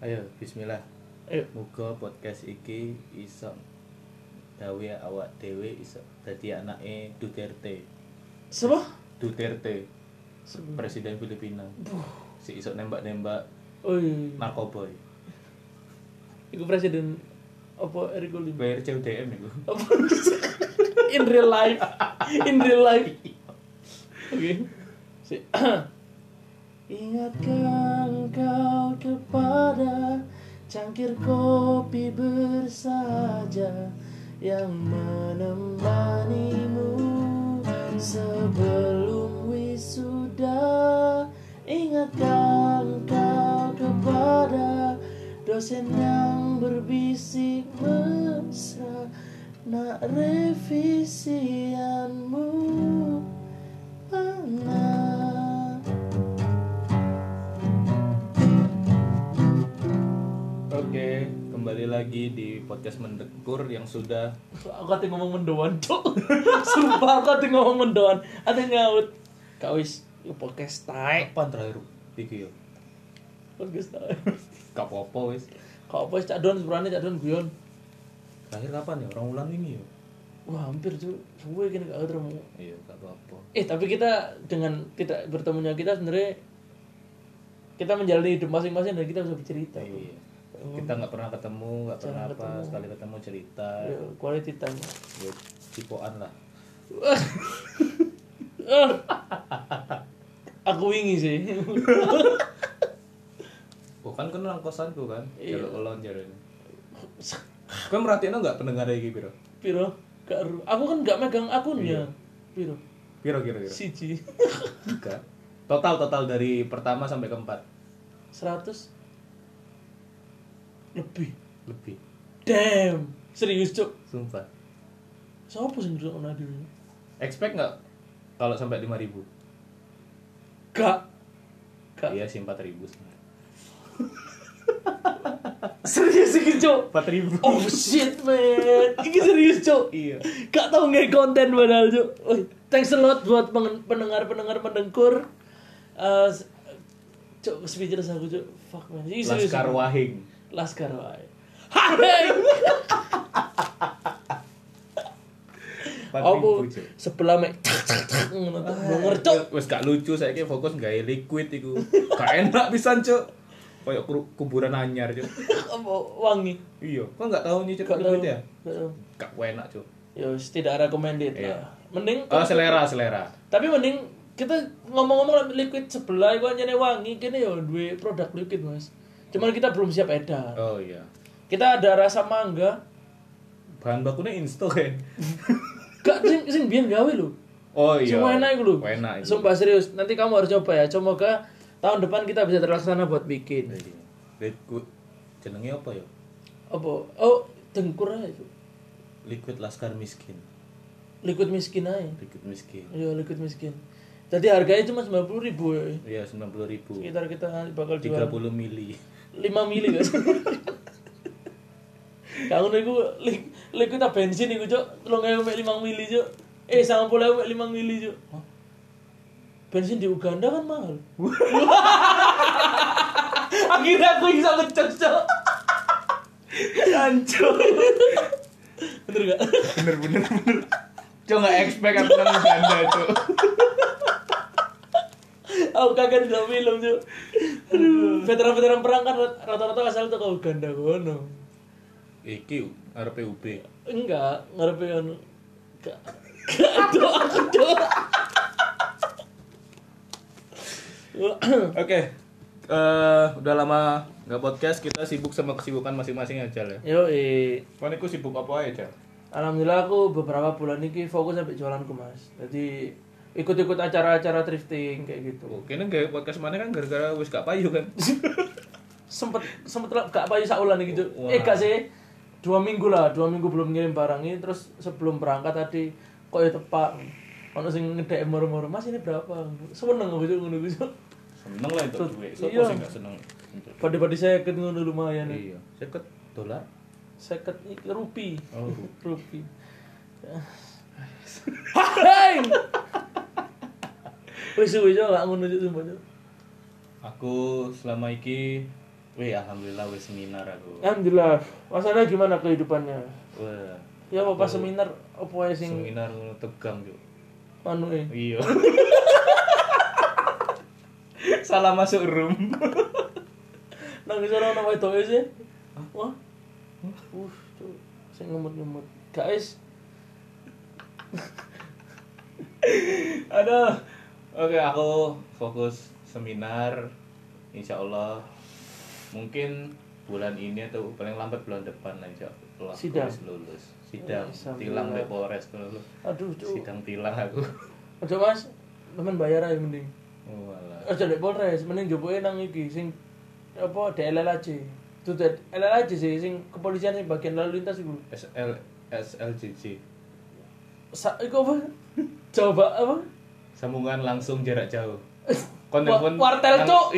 Ayo bismillah. Ayo. Muga podcast iki iso gawe awak dhewe iso dadi anake Duterte. Siapa? Duterte, Siapa? presiden Filipina. Buh. Si iso nembak-nembak Oh iya. narkoboy. Iku presiden apa Eric Olim? Bayar CUDM niku. Apa? In real life. In real life. Oke. Si. Ingatkan kau kepada cangkir kopi bersaja yang menemanimu sebelum wisuda. Ingatkan kau kepada dosen yang berbisik mesra nak revisianmu mana Oke, kembali lagi di podcast mendekur yang sudah aku hati ngomong mendoan cok sumpah aku hati ngomong mendoan hati nyaut kau wis yo podcast tae kapan terakhir iki yo. podcast tae Kapopo wis. kau apa wis cak don sebenarnya cak don guyon Terakhir kapan ya? Orang bulan ini yo. wah hampir cok suwe gini gak ketemu Iya, gak apa-apa. eh tapi kita dengan tidak bertemunya kita sebenarnya kita menjalani hidup masing-masing dan kita bisa bercerita bro. Iya. Kita nggak pernah ketemu, nggak pernah Oh. Jarang apa, ketemu. sekali ketemu cerita, Yo, quality time ya cipoan lah. aku wingi sih Bukan kan nang kosanku kan, Iya. jaluk ulon jaluk. Kan merhatiin nggak pendengar iki piro? piro gak ru aku kan gak megang akunnya piro Piro kira kira? siji Enggak. Total total dari pertama sampai keempat 100 lebih lebih. damn serius cok Sumpah. siapa sih ngerti ono dhewe Expect nggak kalau sampai 5000? gak gak Iya sih 4000 sebenarnya. serius iki cok 4000. oh shit man iki serius cok Iya. gak tau nge konten padahal cok Woi, thanks a lot buat pengen- pendengar-pendengar pendengkur Eh, s- cok speechless aku cok fuck man Iki serius. Laskar Wahing. Laskar wae. Hai. 4000 cuk. sebelah mek cak cak cak ngono tuh. Ngonger cok. Wes gak lucu saya fokus gak liquid iku. Gak enak pisan cuk. Kayak kru- kuburan anyar cuk. Apa wangi? Iya, kok gak tahu nyicip Gak tau. liquid ya? Gak tau. Gak enak cuk. Yo, Ya tidak recommended. Iya. lah. Mending Oh, selera, selera. tapi mending kita ngomong-ngomong liquid sebelah iku anjane wangi kene yo duwe produk liquid, Mas. Cuman kita belum siap edar. Oh iya. Kita ada rasa mangga. Bahan bakunya insto ya. Gak sing sing biyen gawe lho. Oh iya. Semua enak iku lho. Enak itu. Sumpah serius, nanti kamu harus coba ya. Semoga tahun depan kita bisa terlaksana buat bikin. Liquid jenenge apa ya? apa oh dengkur aja Cuk. Liquid laskar miskin. liquid miskin aja Liquid miskin. iya liquid miskin tadi harganya cuma sembilan puluh ribu Iya, ya 90.000. sekitar kita nanti bakal jual 30 mili. lima mili guys kamu nih gue liquid apa bensin nih gue cok lo nggak lima mili cok eh sama pula lima mili cok bensin di Uganda kan mahal akhirnya aku bisa ngecek cok Hancur. bener gak bener bener bener. Cok gak expect aku nang Uganda, Cok. Aku kaget nggak film tuh. Aduh, veteran-veteran perang kan rata-rata asal tuh ke Uganda kono. Iki arepe UB. Enggak, ngarepe kan gak gak ada aku tuh. Oke. Eh, udah lama nggak podcast, kita sibuk sama kesibukan masing-masing aja ya. Yo, eh, Kan aku sibuk apa aja, Cok? alhamdulillah aku beberapa bulan ini fokus sampai jualanku mas. Jadi ikut-ikut acara-acara thrifting kayak gitu. Oke, neng gawe podcast mana kan gara-gara wis gak payu kan. Sempet sempet lah gak payu saulan gitu. Eh gak sih, dua minggu lah, dua minggu belum ngirim barang ini. Terus sebelum berangkat tadi kok ya tepak. Ono sing ngedek moro-moro, Mas ini berapa? Seneng aku tuh ngono gitu. seneng lah itu duit. Sopo Iya. sih gak seneng? Pada-pada saya ngono lumayan. Iya, seket dolar. seket iki rupi Oh. rupi Hai wis suwe yo gak ngono cuk sumpah cuk Aku selama iki Wih, alhamdulillah wis seminar aku. Alhamdulillah. Mas Anda gimana kehidupannya? Wah, Ya apa pas seminar apa ya sing seminar ngono tegang, Cuk. anu eh. Iya. Salah masuk room. Nangis ora ono wedoke sih. Wah. Uh, cuk. Sing ngemut-ngemut. Guys, Aduh. Oke, aku fokus seminar. Insya Allah mungkin bulan ini atau paling lambat bulan depan aja aku Sidang. harus lulus. Sidang, Ya, alhamdulillah. tilang Mbak Polres dulu. aduh cuk. Sidang tilang aku. Ojo Mas, temen bayar aja mending. Oh, alah. Ojo lek Eh, Polres, mending jopoke nang iki sing apa DLLAJ. Itu DLLAJ sih sing kepolisian sing bagian lalu lintas iku. SL SLJJ. Sa iku apa? Coba apa? Sambungan langsung jarak jauh. Wa- wartel, nang- Cuk.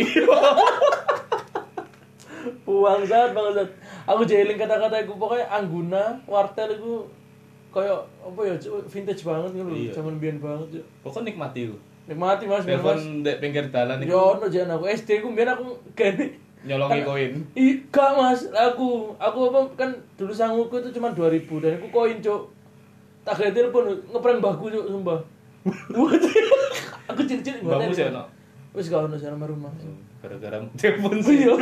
Iya. Bangsat, bangsat. Aku jeling kata-kata iku pokoknya angguna, wartel iku koyo apa ya Cuk, vintage banget ngono lho, Iya. zaman biyen banget yo. Pokoknya nikmati yuk. Nikmati Mas, Iya. nikmati. Telepon dek pinggir dalan Yo itu ono jan aku SD ku biyen aku gene Kan- nyolongi koin. Ih, gak mas, aku, aku apa kan dulu sanguku itu cuma 2000 dan aku koin cok Tak kayak telepon, ngeprank baku cok, sumpah Aku cincin Mbakmu sih, no? Wis gak ono sama rumah Gara-gara telepon sih. Iya,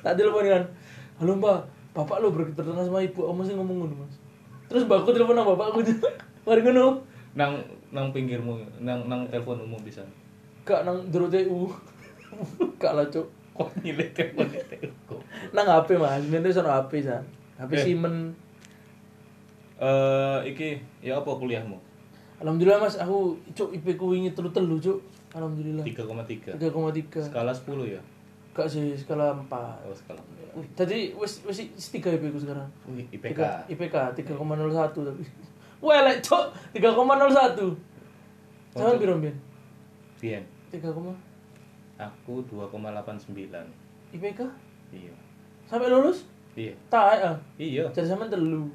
tak telepon kan Halo mbak, bapak lo berketertengah sama ibu, kamu sih ngomong ngono mas Terus mbakku telepon sama bapakku Cuk. Mari ngono nang nang pinggirmu nang nang telepon umum bisa Gak nang jero TU Gak lah cok kok nyilih telepon di telkom Nang HP mas, nanti sana HP san HP Eh. Siemens eh iki ya apa kuliahmu Alhamdulillah mas, aku cuk IP ku wingi telu telu cuk. Alhamdulillah. 3,3 3,3 skala 10 ya Gak sih skala 4 oh skala Wih, Tadi wis wis wis 3 IP ku sekarang. Wih, IPK Tiga- IPK 3,01 tapi. Welek cuk 3,01. Jangan biro mbien. Bien 3, koma- aku 2,89 IPK iya sampai lulus? iya Tak ah. iya Jadi sampean telu.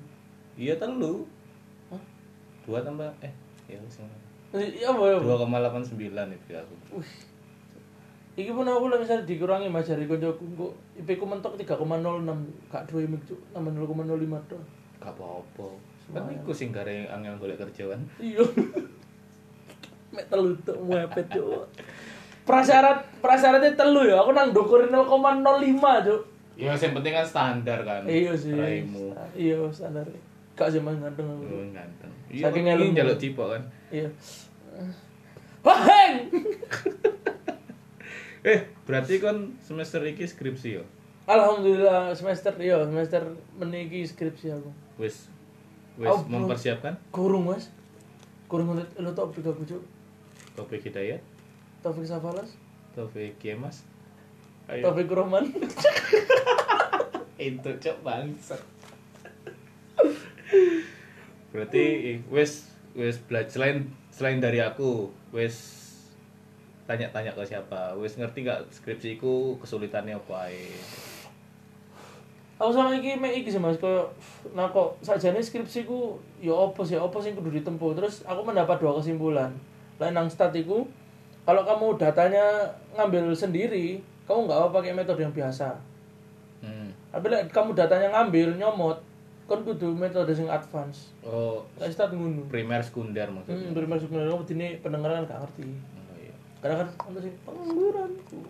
iya telu Hah? dua tambah eh ya wis Iya apa ya? 2,89 IPK aku Wih. Iki pun aku lah misalnya dikurangi mas dari koncoku kok IP ku mentok 3,06 gak 2 mik cuk tambah 0,05 tok. gak apa-apa kan iku sing gare angel golek kerjaan Iya. Mek telu tok mepet cuk. Prasyarat prasyaratnya telu ya. Aku nang dokurin 0,05 cuk. ya yang penting kan standar kan Iya sih. raimu Iya standar. Gak sih mas ganteng aku. Lu ganteng. Saking kan, ngelmu. ini jaluk tipe kan. Iya. Waheng. Eh, berarti kan semester iki skripsi yo. Alhamdulillah semester iya semester meniki skripsi aku. Wis wis Oh, belum. mempersiapkan Kurung mas. Kurung lu lu topik aku cuk. topik hidayat, Taufik Safalas, topik kemas. Ayo. Taufik Rohman. Itu cok bangsat. berarti eh, wis wis belajar selain selain dari aku, wis tanya-tanya ke siapa, wis ngerti gak skripsiku kesulitannya apa ae. Aku sama iki mek iki sih Mas, koyo nah kok sajane skripsiku ya opo sih, opo sing kudu ditempuh. Terus aku mendapat dua kesimpulan. Lain nang stat iku, kalau kamu datanya ngambil sendiri, kamu nggak apa pakai metode yang biasa. Hmm. Tapi lek kamu datanya ngambil nyomot, kan kudu metode sing advance. Oh, Lek stat ngono. primer sekunder Hmm, maksudnya. beri masuk kamu dini pendengaran gak ngerti. Oh, iya. Karena kan ono sing pengangguranku.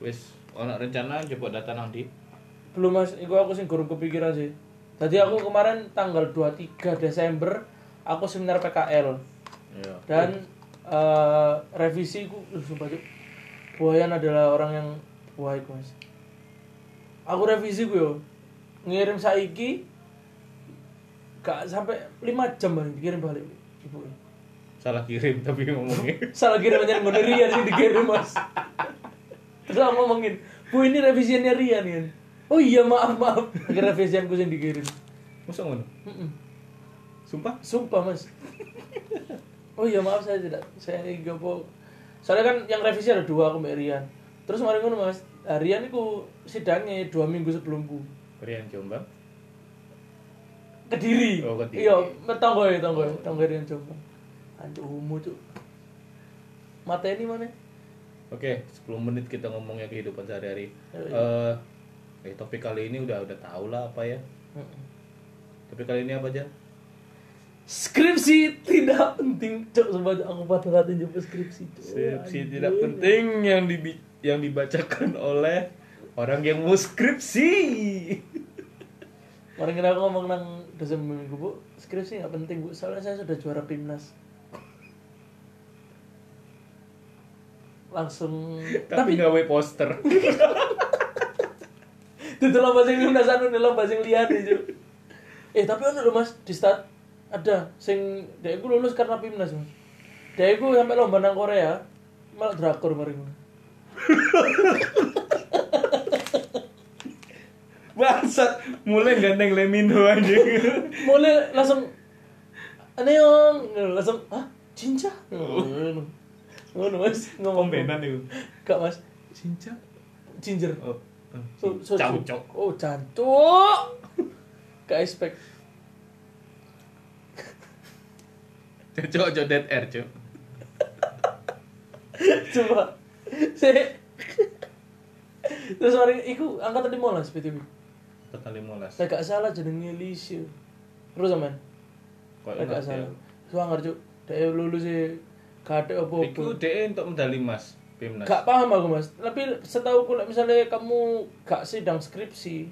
Wis ono rencana coba data nang di Belum mas, iku aku sing gurung kepikiran sih. Tadi aku kemarin tanggal 23 Desember aku seminar PKL Iya. dan eh, revisi ku uh, sumpah Cuk. Buayan adalah orang yang buaik mas. Aku revisi ku yo ngirim saiki gak sampai 5 jam baru dikirim balik ibu. Salah kirim tapi ngomongnya. Salah kirimannya ngono Rian sing dikirim mas. Terus aku ngomongin, bu ini revisiannya Rian kan. Oh iya maaf maaf, akhirnya revisianku yang dikirim. Masa ngono? Mm-mm. Sumpah? Sumpah mas. Oh iya maaf saya tidak saya ini gak mau. Soalnya kan yang revisi ada dua aku Mbak Rian. Terus kemarin ngono mas, nah, Rian itu sidangnya dua minggu sebelumku. Rian Jombang. Kediri. Oh, Kediri. Iya, tonggo ya tonggo, tonggo Rian Jombang. Anjuk umum cuk. Mata ini mana? Oke, 10 menit kita ngomongnya kehidupan sehari-hari. Eh Iya, eh topik kali ini udah udah tau lah apa ya Mm-mm. topik kali ini apa aja Skripsi tidak penting, cok. Sumpah Cok, aku patah hati jumpa skripsi. Cok. skripsi tidak penting yang dibi yang dibacakan oleh orang yang mau skripsi Orang kira aku ngomong nang dosen minggu bu, skripsi nggak penting bu, soalnya saya sudah juara timnas. Langsung. tapi Tapi, gawe poster itu lomba sing timnas anu nih lomba sing lihat itu. Eh tapi ono loh mas di start ada sing dia gue lulus karena timnas mas. Dia gue sampai lomba nang Korea malah drakor mari gue. bangsat mulai gandeng Lemino aja mulai langsung neong langsung ah cinca ngono ngono mas ngomong kombenan itu gak mas cincang ginger ya. oh oh. So- soju. Caucok. oh cancuk gak expect cocok cocok dead air cok coba saya terus hari iku angkatan lima lah PTW kali molas saya gak salah jenenge Lisio terus aman kok saya gak ingat ya salah suangar cuk dia lulus sih gak ada apa-apa Iku DE E untuk medali emas E Pimnas. Gak paham aku mas, tapi setahu aku like, misalnya kamu gak sidang skripsi,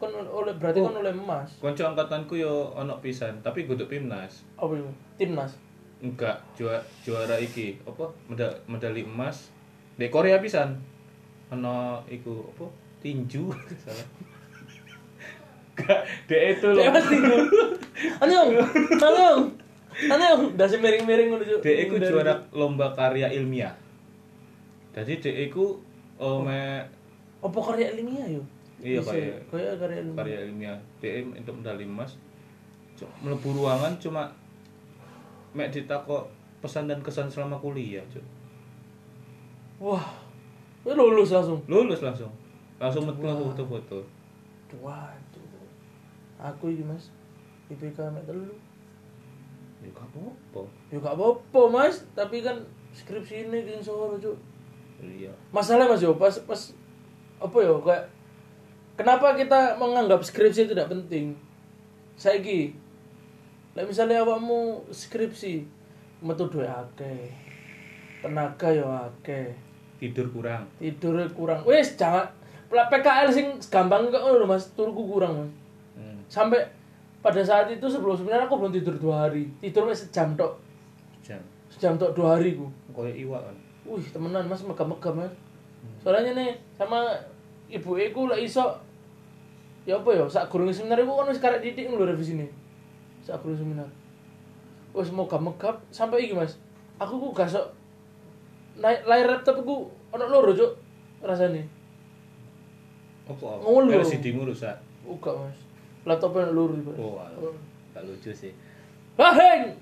kan oleh berarti kan Oh. oleh emas, Konco angkatanku yo ono pisan, tapi guduk Pimnas. apa itu? Timnas. Enggak, juara juara iki apa meda- medali emas di Korea pisan. Ono iku apa tinju salah. Enggak, DE itu loh. Timnas itu. Anjong, anjong, anjong. Dasi miring-miring menuju. DE ku juara lomba karya ilmiah. Jadi DE ku oh, me, Apa karya ilmiah yo? Iya, Bisa, karya. Karya karya ilmiah. karya ilmiah DM untuk medali emas cu- melebu ruangan cuma mek ditakok pesan dan kesan selama kuliah cu. Wah, ya lulus langsung. lulus langsung langsung metu foto-foto Waduh, aku ini mas, IPK mek telu. ya gak apa-apa Ya gak apa-apa mas, tapi kan skripsi ini yang sore cuk. iya masalah mas yo pas pas apa yo kayak kenapa kita menganggap skripsi tidak penting saya ki misalnya awakmu skripsi metu duwe akeh tenaga yo akeh tidur kurang tidur kurang wis jangan Lah, PKL sing gampang kok ngono lho, mas turku kurang mas hmm. sampai pada saat itu sebelum sebenarnya aku belum tidur dua hari tidur wis sejam tok jam sejam tok dua hari ku koyo iwak kan Wih temenan mas megah-megah mas Soalnya nih sama ibu aku lah iso Ya apa ya, saat gurung seminar aku kan wis karek didik lho revisi ini Saat gurung seminar Wis megah-megah sampai iki mas Aku ku gak sok Naik layar laptop ku ono loro cuk rasanya apa Ngulu. LCD mu rusak Uga mas Laptopnya ono loro tiba oh alah. gak lucu sih Haheng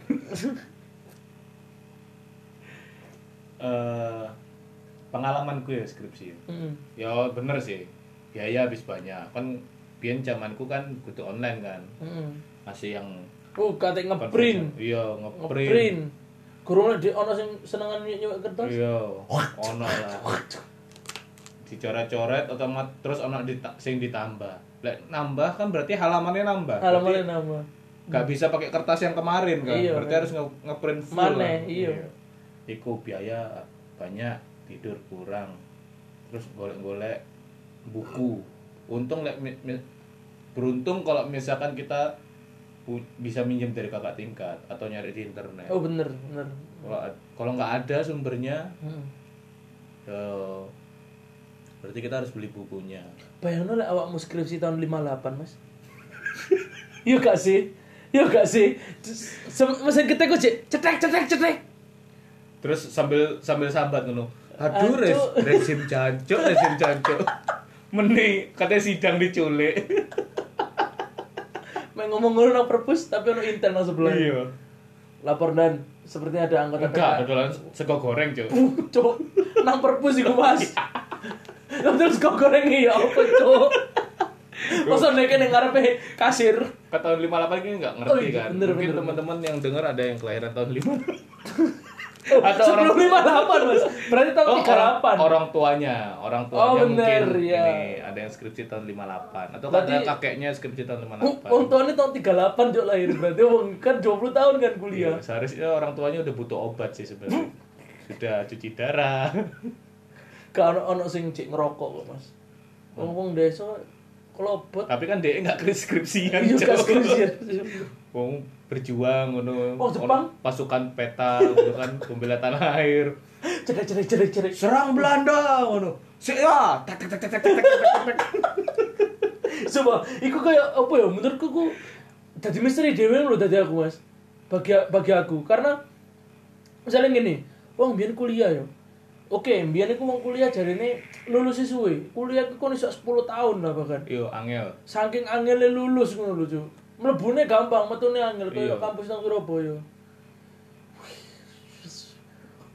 Eh, pengalamanku ya skripsi Mm. ya bener sih biaya habis banyak kan biar zamanku kan kudu online kan Mm. masih yang Uh kate ngeprint iya ngeprint Ngeprint Gurung di ono sing senengan nyuwek kertas iya ono lah dicoret-coret otomat terus ono dita- sing ditambah lek nambah kan berarti halamannya nambah Alamannya nama Berarti nggak bisa pakai kertas yang kemarin kan Iya, berarti kan. harus nge- ngeprint full Maneh, kan. iya. iku biaya banyak tidur kurang terus golek-golek buku untung lek mi- mi- beruntung kalau misalkan kita pu- bisa minjem dari kakak tingkat atau nyari di internet Oh bener, bener. Kalau ad- kalau nggak ada sumbernya Heeh. eh, berarti kita harus beli bukunya Bayangno lek awakmu skripsi tahun 58, Mas. Iya gak sih? Iya gak sih? Terus, sem- Mesin ketik kok Cik. cetek cetek cetek. terus sambil sambil sambat ngono aduh Aduh. res, rezim jancuk rezim jancuk meni katanya sidang diculik Main ngomong ngono nang perpus tapi ono intern nang sebelah. iya Lapor dan sepertinya ada anggota enggak dodolan sego goreng cuk PK. Cuk, nang perpus iku, Mas. Iya. Lah terus kok goreng ya apa, Cuk? Iya. Masa nek ning ngarepe kasir. ke tahun 58 ini nggak ngerti Oh iya, kan bener, mungkin bener, teman-teman yang dengar ada yang kelahiran tahun 58 Atau orang- sebelum 58 mas berarti tahun Oh, orang, 38 orang tuanya, orang tuanya Oh, bener, mungkin ya. ini ada yang skripsi tahun 58 atau kan Berarti- Oh, ada kakeknya skripsi tahun 58. Wong tuanya tahun 38 jok lahir berarti wong kan 20 tahun kan Iya, kuliah. seharusnya orang tuanya udah butuh obat sih sebenarnya. Sudah cuci darah. Gak ono ono sing cek ngerokok kok, Mas. Wong wong desa kelobot Tapi kan dia nggak kris- skripsian. iya Cok. kas kerja. Wong berjuang ngono. Oh, Jepang? Ono Pasukan peta ngono kan pembela tanah air. Cerek cerek cerek cerek. Serang Belanda ngono. ya. Saya tak tak tak tak tak tak, tak tak. Coba iku kayak apa ya menurutku ku dadi misteri dhewe lho dadi aku, Mas. Bagi bagi aku karena misalnya gini, wong biyen kuliah yo. Oke, biyen iku wong kuliah jarine lulus suwe. Kuliah iku kon iso 10 tahun lah bahkan. Yo angel. saking angele lulus ngono lho Cuk. Mlebune gampang, metune angel Iya. kaya kampus nang Surabaya.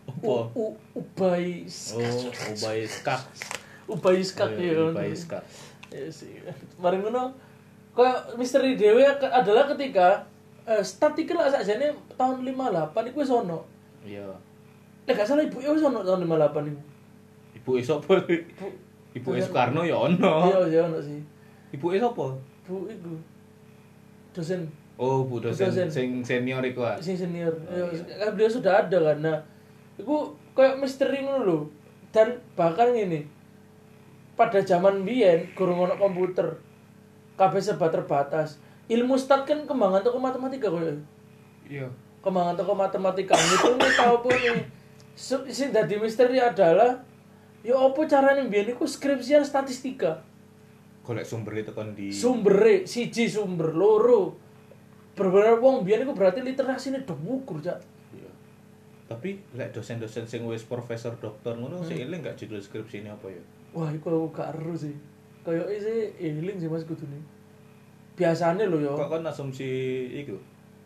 Opo? U- u- Ubai Oh, Ubay Skak. Ubai Iya, skak ya. Ubay Skak. Ya sih. Mari ngono kaya misteri dhewe ke- adalah ketika eh, statistik lah sakjane tahun 58 iku wis ono. Iya. Lah gak salah ibuke wis ono tahun 58 iku. Ibu esok apa? Ibu Bukan. Soekarno ya ono. Iya, iya ono sih. Ibu esok apa? Bu iku dosen Oh, Bu dosen Dosen. sing senior iku. ah. sing senior. Oh, ya, iya. kan beliau sudah ada kan. Nah, itu kayak misteri ngono lho. Dan bahkan ini pada zaman biyen gurung ono komputer. Kabeh serba terbatas. Ilmu stat kan kembangan toko matematika koyo. Iya. Kembangan toko matematika itu nih tau pun nih. Su- Sing dadi misteri adalah ya apa carane biyen iku skripsian statistika. Golek sumber itu kan di Sumbere siji sumber loro. Bener-bener wong biyen iku berarti literasine dhuwur, Cak. Iya. Tapi lek dosen-dosen sing wis profesor doktor ngono sih eling gak judul skripsine apa ya? Wah, iku aku gak ero sih. Kayak sih eling sih Mas kudune. Biasane lho ya. Kok kan asumsi iku.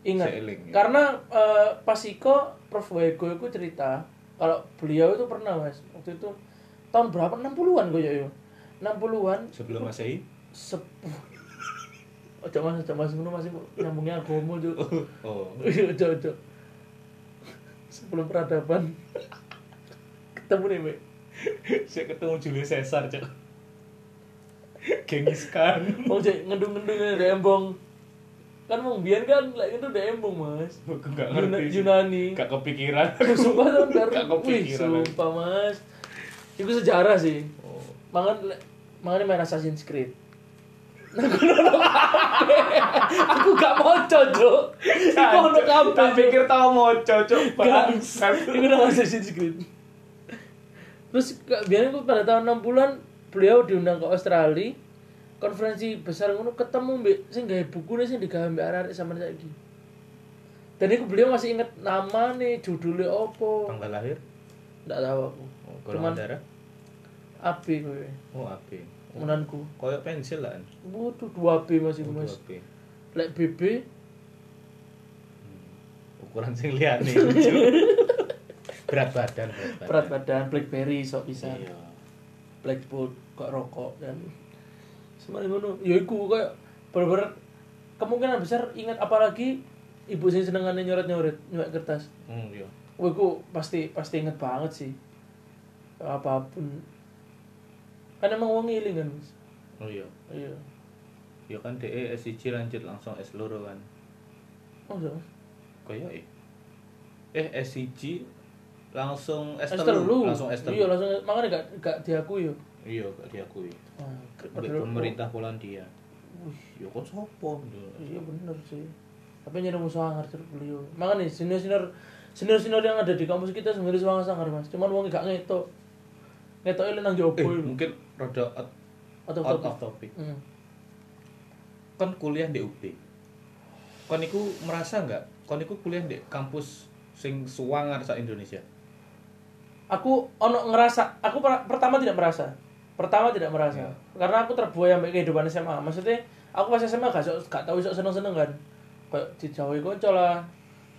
Ingat. sih eling, ya. Karena eh, pas Iko Prof Wego itu cerita kalau beliau itu pernah Mas, waktu itu tahun berapa? 60-an kayak yo. 60-an Sebelum Masehi. sepuluh Ojo Mas, ojo Mas ngono masih nyambungnya agama juga. Oh. Iya, Ojo ojo. Sebelum peradaban. Ketemu nih, Mek. Saya ketemu Julius Caesar, Cok. Genghis Khan. Wong cek ngendung-ngendung ada embong. Kan wong biyen kan lek itu ada embong, Mas. Aku gak Yuna- ngerti. sih. Yunani. Gak kepikiran. Aku sumpah tuh ntar. Gak Wih, kepikiran. sumpah, Mas. Iku sejarah sih. Oh. Mangan lek- mangan main Assassin's Creed. Nah, Aku gak mau cocok. Iku ono kabeh. Tak pikir tau mau cocok Gak. bangsat. Iku nama Assassin's Creed. Terus gak- biasanya aku pada tahun 60-an beliau diundang ke Australia konferensi besar ngono ketemu mbek sing gawe buku sing digawe mbek arek sama saiki. Dan iku beliau masih inget nama nih, judulnya opo. Tanggal lahir? Ndak tahu aku. Oh, Cuman golongan darah? AB kowe, Oh, AB. menanku. Koyok pensil lah. Waduh 2B masih Oh, Mas. AB. Lek BB Ukuran sing liyane. berat badan, berat badan. berat badan BlackBerry sok bisa. Iya. Blackpool kok rokok dan semuanya ngono ya iku kayak bener kemungkinan besar ingat apalagi ibu sing senengannya nyoret nyoret nyoret kertas Hmm, iya. Wah, iku pasti pasti inget banget sih apapun kan emang wong ngiling kan mas Oh iya. iya Ya kan DE SIC lanjut langsung S loro kan. oh so. Koyok eh. Eh SIC langsung S Ester lu telu, langsung S telu. iya langsung makanya gak gak diakui yo Iya, gak diakui. Ah, Mbek padahal- pemerintah Polandia. Wih, ya kan sopo? iya bener sih tapi nyari musuh sangar terus beliau makanya senior senior senior senior yang ada di kampus kita sebenarnya sangat sangar mas cuman wong gak ngetok ngetok ini nang jopo Eh, itu mungkin rada out, atau out of topic. hmm. Kon kuliah di UB. Kon iku merasa nggak? Kon iku kuliah di kampus sing suangar sa Indonesia. aku ono ngerasa aku per- pertama tidak merasa pertama tidak merasa Iya. karena aku terbuai sampai kehidupan SMA maksudnya aku pas SMA gak, sok- gak tahu sok seneng seneng kan kayak dijauhi konco lah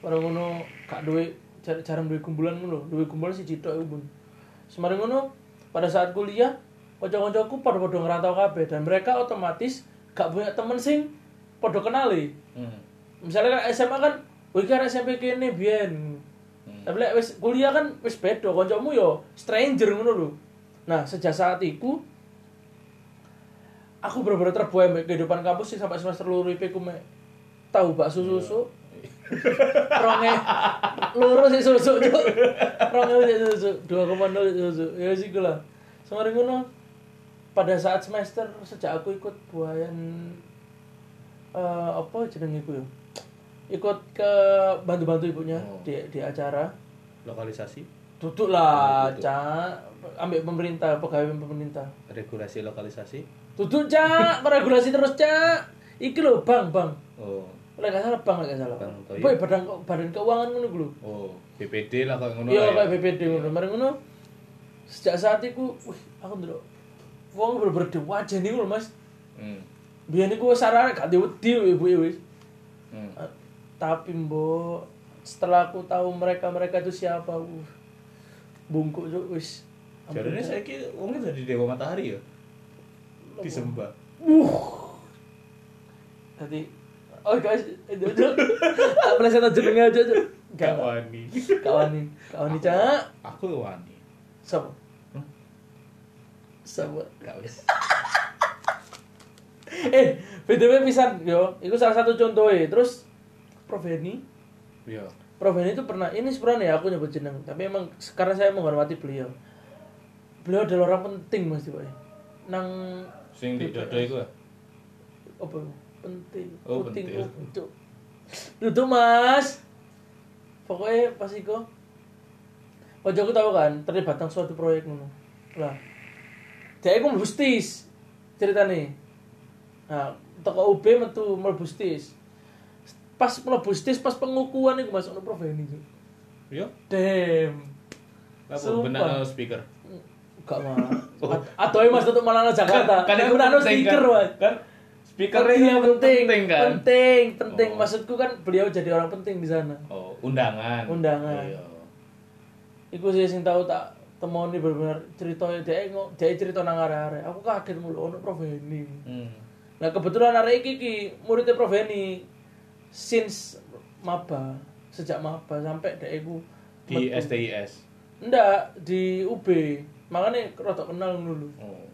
orang ngono gak duwe jar jarang duwe kumpulan ngono duwe kumpulan si cito ibu semarin ngono pada saat kuliah konco-koncoku pada pada ngerantau kabeh dan mereka otomatis gak punya temen sing pada kenali Hmm. "Oh, misalnya kan SMA kan wih kan SMP kene biyen Hmm. Tapi lek wis kuliah kan wis beda, kancamu yo stranger ngono lho. Nah, sejak saat itu aku bener-bener terbuai mbek kehidupan kampus sih sampai semester loro IP ku mek tahu bakso susu. Ronge loro sih susu cuk. Ronge sih susu 2,0 susu. Ya sih gula. Sore ngono pada saat semester sejak aku ikut buayan eh, apa jeneng iku ya? Ikut ke bantu-bantu ibunya Oh. di di acara. Lokalisasi, Duduk Oh, lah, Duduk. Cak. Ambil pemerintah, pegawai pemerintah. regulasi lokalisasi. Duduk, Cak. Meregulasi terus, Cak. Iki lho, Bang, Bang. Oh, Oleh gak salah, Bang, oleh gak salah. Bang, toh, Boy, badan, badan keuangan ngono iku lho. oh, BPD lah kalau ngono. Iya, lah ya. kayak BPD ngono. Mari ngono. Sejak saat itu, wih, aku ndelok wong bener-bener diwajeni ngono, Mas. Hmm. Biyen iku sarare gak diwedi ibu wis. Hmm. Eh, tapi mbok setelah aku tahu mereka mereka itu siapa uh, bungkuk tuh wis Jadinya saya kira wongnya dari Dewa Matahari ya. Disembah. nanti oh guys itu itu tak pleset aja dengar aja aja Gak kawan wani. kawan nih kawan nih cak Aku ya wani. sama Hmm? sama Gak wis. eh btw pisan yo itu salah satu contoh terus Prof Heni Iya. Prof Heni itu pernah ini sebenarnya ya aku nyebut jeneng tapi emang sekarang saya menghormati beliau beliau adalah orang penting mas Boy nang Sing di dada iku. ya? apa penting Oh, penting pentil. cuk duduk mas pokoknya pas iku Kocoku tahu kan terlibat nang suatu proyek ngono lah dia iku mlebustis ceritane nah toko UB metu mlebustis pas mlebustis pas pengukuhan iku mas ono prof ini cuk Iya. damn Apa Sumpah. benak no speaker? gak mah atau mas tutup malah nang Kan- Jakarta kan itu Aku nano penting, stiker kan? mas Kan speaker itu Iya, penting, penting kan. penting, penting. Oh. Maksudku kan beliau jadi orang penting di sana. Oh, undangan. Undangan. Iya. Iku sih sing tahu tak temoni bener-bener ceritanya dia ngok dia cerita nang arek-arek. Aku kaget mulu ono Prof Heni. Hmm. Nah kebetulan arek iki ki muridnya Prof Heni since maba sejak maba sampai dia iku Di metu. STIS. Ndak di UB. Makanya rotok kenal dulu. Oh.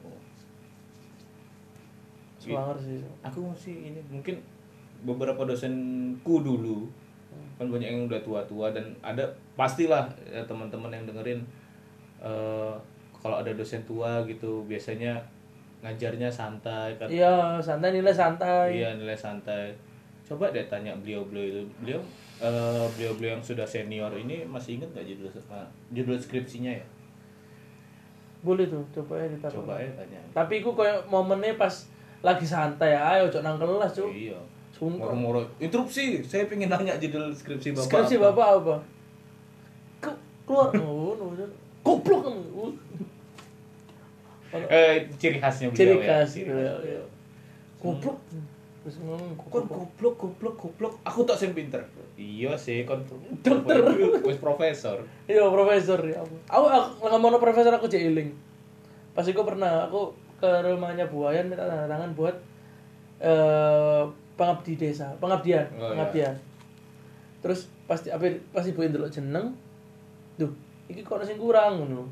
Iya. Semangat sih. Aku sih ini mungkin beberapa dosenku dulu kan banyak yang udah tua-tua dan ada pastilah ya, teman-teman yang dengerin eh, kalau ada dosen tua gitu biasanya ngajarnya santai kan Iya, santai nilai santai. Iya nilai santai. Coba deh tanya beliau-beliau itu. Beliau eh, beliau-beliau yang sudah senior ini masih ingat gak judul eh, judul skripsinya ya? Boleh tuh, coba ya ditaruh. Coba ya tanya. Tapi iku koyo momennya pas lagi santai ayo cok nang kelas cok. Iya. Sungkem. Moro-moro interupsi. Saya pengen nanya judul skripsi Bapak. Skripsi apa. bapak apa? Ke keluar ngono Cuk. Goblok kamu. Uh. Eh ciri khasnya beliau Ciri ya. khas. Ciri khas iya, iya. beliau. Hmm. Goblok. Terus ngomong Kon goblok. goblok goblok goblok. Aku tak sing pinter. Iya sih kon Dokter. Wis profesor. Iya profesor ya. Aku aku, aku ngomong profesor aku cek iling. Pas iku pernah aku ke rumahnya Buayan minta tanda tangan buat eh pengabdi desa, pengabdian, Oh, iya. pengabdian. Terus pasti apa pasti ibu ndelok jeneng. Duh, iki kok ono sing kurang ngono.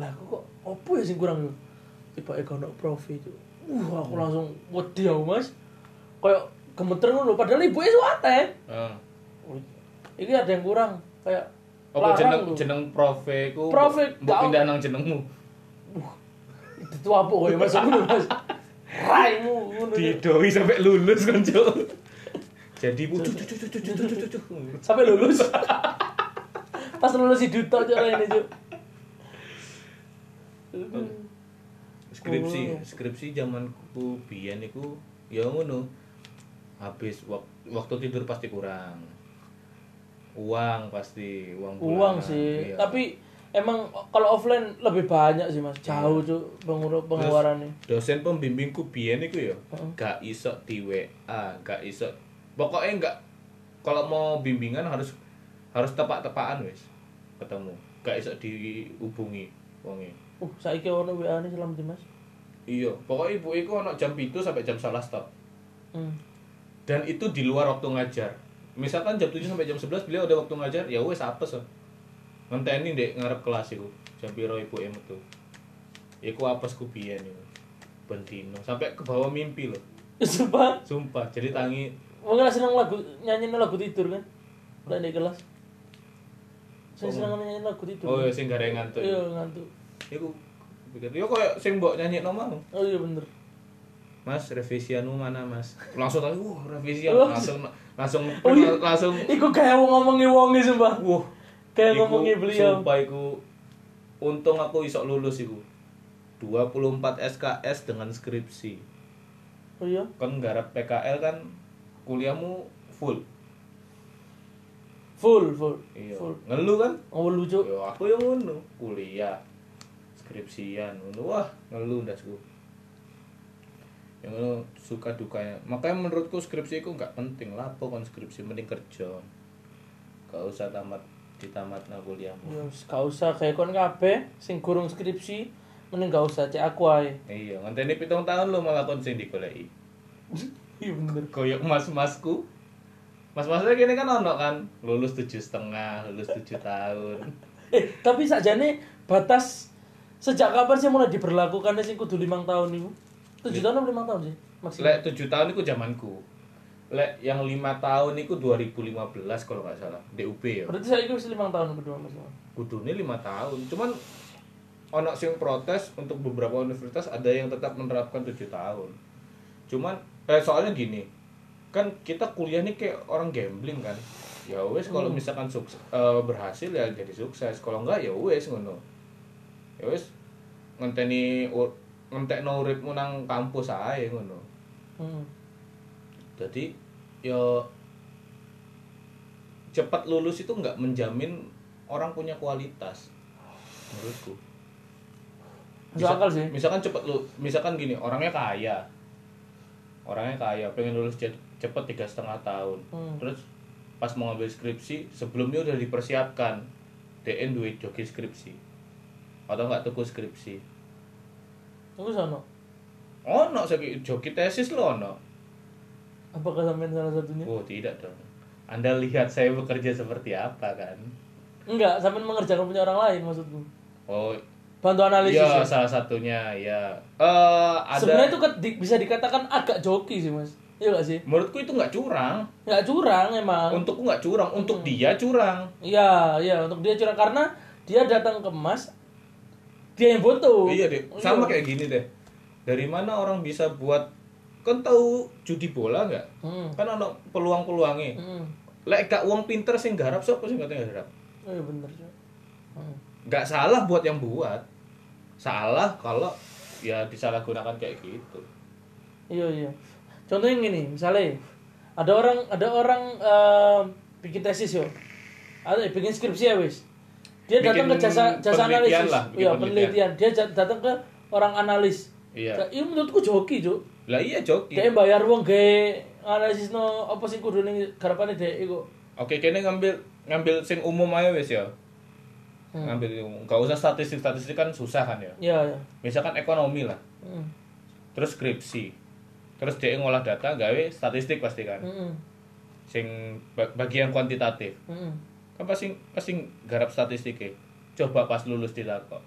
Lah aku kok opo ya sing kurang ngono. Tiba iku ono profi itu. Uh, Hmm. aku langsung wedi aku, Mas. Kayak gemeter ngono padahal ibuke suwate. Heeh. Iki ada yang kurang kayak Apa larang jeneng lho. jeneng profe ku? Profe, mbok gak- pindah nang jenengmu. itu apa ya mas aku mas raimu ngono. didoi sampai lulus kan cuk jadi bu cu cu cu cu cu cu cu cu, cu sampai lulus pas lulus si duta aja lah ini Cuk. skripsi Oh. skripsi zaman ku biyen iku ya ngono habis wak- waktu tidur pasti kurang uang pasti uang bulanan. uang sih Iya. tapi emang kalau offline lebih banyak sih mas jauh tuh pengeluarannya dosen pembimbingku biyen iku ya Heeh. gak iso di WA gak iso pokoknya gak kalau mau bimbingan harus harus tepak-tepakan wis ketemu gak iso dihubungi wonge uh saiki ono wa ini selama di mas Iya, pokoknya ibu iku ono jam itu sampai jam salah stop. hmm. Dan itu di luar waktu ngajar. Misalkan jam 7 sampai jam 11 beliau ada waktu ngajar, ya wes apes. oh. ngenteni ndek ngarep kelas iku jam piro ibu e metu iku apes ku biyen iku ben dino sampai ke bawah mimpi loh Sumpah, sumpah jadi tangi wong lah seneng lagu nyanyi lagu tidur kan. Udah di kelas. Saya seneng nyanyi lagu tidur. oh ya sing gara ngantuk Iya, ngantuk. iku pikir yo koyo sing mbok nyanyi mau Oh iya bener. Mas, revisianmu mana mas? Langsung tadi, wah revisian, Oh. langsung langsung Oh, iya. langsung, Iku kayak wong ngomongi wongi sumpah. wah. Kayak iku ngomongi beliau. Sumpah iku, untung aku isok lulus iku. 24 SKS dengan skripsi. Oh iya. Kan garap PKL kan kuliahmu full. Full, full. Iya. Full. Ngeluh kan? Oh lucu. Yo aku yang ngono, kuliah skripsian ngono wah ngeluh ndasku. Yang ngono suka dukanya. Makanya menurutku skripsi itu nggak penting lah, pokoknya skripsi mending kerja. Gak usah tamat ditamat nah kuliahmu. Ya wis, gak usah kayak kon kabeh sing gurung skripsi mending gak usah cek aku ae. Iya, ngenteni pitung tahun lo malah kon sing digoleki. Iya bener. Koyok mas-masku. Mas-masnya gini kan ono kan, lulus tujuh setengah, lulus tujuh tahun. Eh, tapi sakjane batas sejak kapan sih mulai diberlakukan sih kudu limang tahun iku? Tujuh tahun apa limang tahun sih maksimal? Iya. Lek 7 tahun itu zamanku. Lek yang 5 tahun itu 2015 kalau nggak salah. DUP ya. Berarti saya itu limang tahun kedua Iya. maksimal. Kudune 5 tahun. Cuman ono sing protes untuk beberapa universitas ada yang tetap menerapkan 7 tahun. Cuman eh soalnya gini. Kan kita kuliah nih kayak orang gambling kan. Ya wes kalau misalkan sukses, eh, berhasil ya jadi sukses. Kalau enggak ya wes ngono. Ya wes ngenteni ur- ngentekno uripmu nang kampus ae ngono. Hmm. jadi ya cepat lulus itu nggak menjamin orang punya kualitas menurutku Masuk akal sih. misalkan cepat lu misalkan gini orangnya kaya orangnya kaya pengen lulus ce- cepet tiga setengah tahun Hmm. terus pas mau ngambil skripsi sebelumnya udah dipersiapkan DN duit joki skripsi atau nggak tuku skripsi Aku sono. oh no joki tesis lo no Apakah sampean salah satunya? oh tidak dong anda lihat saya bekerja seperti apa kan Enggak, sampean mengerjakan punya orang lain maksudku. Oh, Bantu analisis. iya ya. salah satunya ya. Eh ada Sebenarnya itu ke- di- bisa dikatakan agak joki sih, Mas. Iya gak sih? menurutku itu nggak curang. Enggak curang emang. Untukku nggak curang, untuk Hmm. dia curang. Iya, iya untuk dia curang karena dia datang ke Mas dia yang butuh. iya deh, sama kayak gini deh. Dari mana orang bisa buat kan tahu judi bola nggak? Hmm. Kan ada peluang-peluangnya. Hmm. Lek gak uang pinter sing garap siapa sing katanya garap? Oh, iya bener. Cok. Hmm. Nggak salah buat yang buat. Salah kalau ya disalahgunakan kayak gitu. Iya iya. Contohnya gini, misalnya ada orang ada orang eh, bikin tesis yo, ada eh, bikin skripsi ya wis. Dia Bikin datang ke jasa jasa penelitian analisis, lah, bikin iya penelitian. penelitian. Dia ja- datang ke orang analis. Iya. Iya menurutku joki jo. Lah iya joki. Dia bayar uang ge analisis no apa sih kudu nih garapannya dia kok. Oke, kene ngambil ngambil sing umum aja wis ya. Hmm. Ngambil yang umum. Gak usah statistik-statistik kan susah kan ya. Iya iya. Misalkan ekonomi lah, Mm, terus skripsi. Terus dia ngolah data gawe statistik pasti kan. mm, Sing ba- bagian kuantitatif. mm. Kan pasti pasti garap statistiknya. Coba pas lulus dilakok.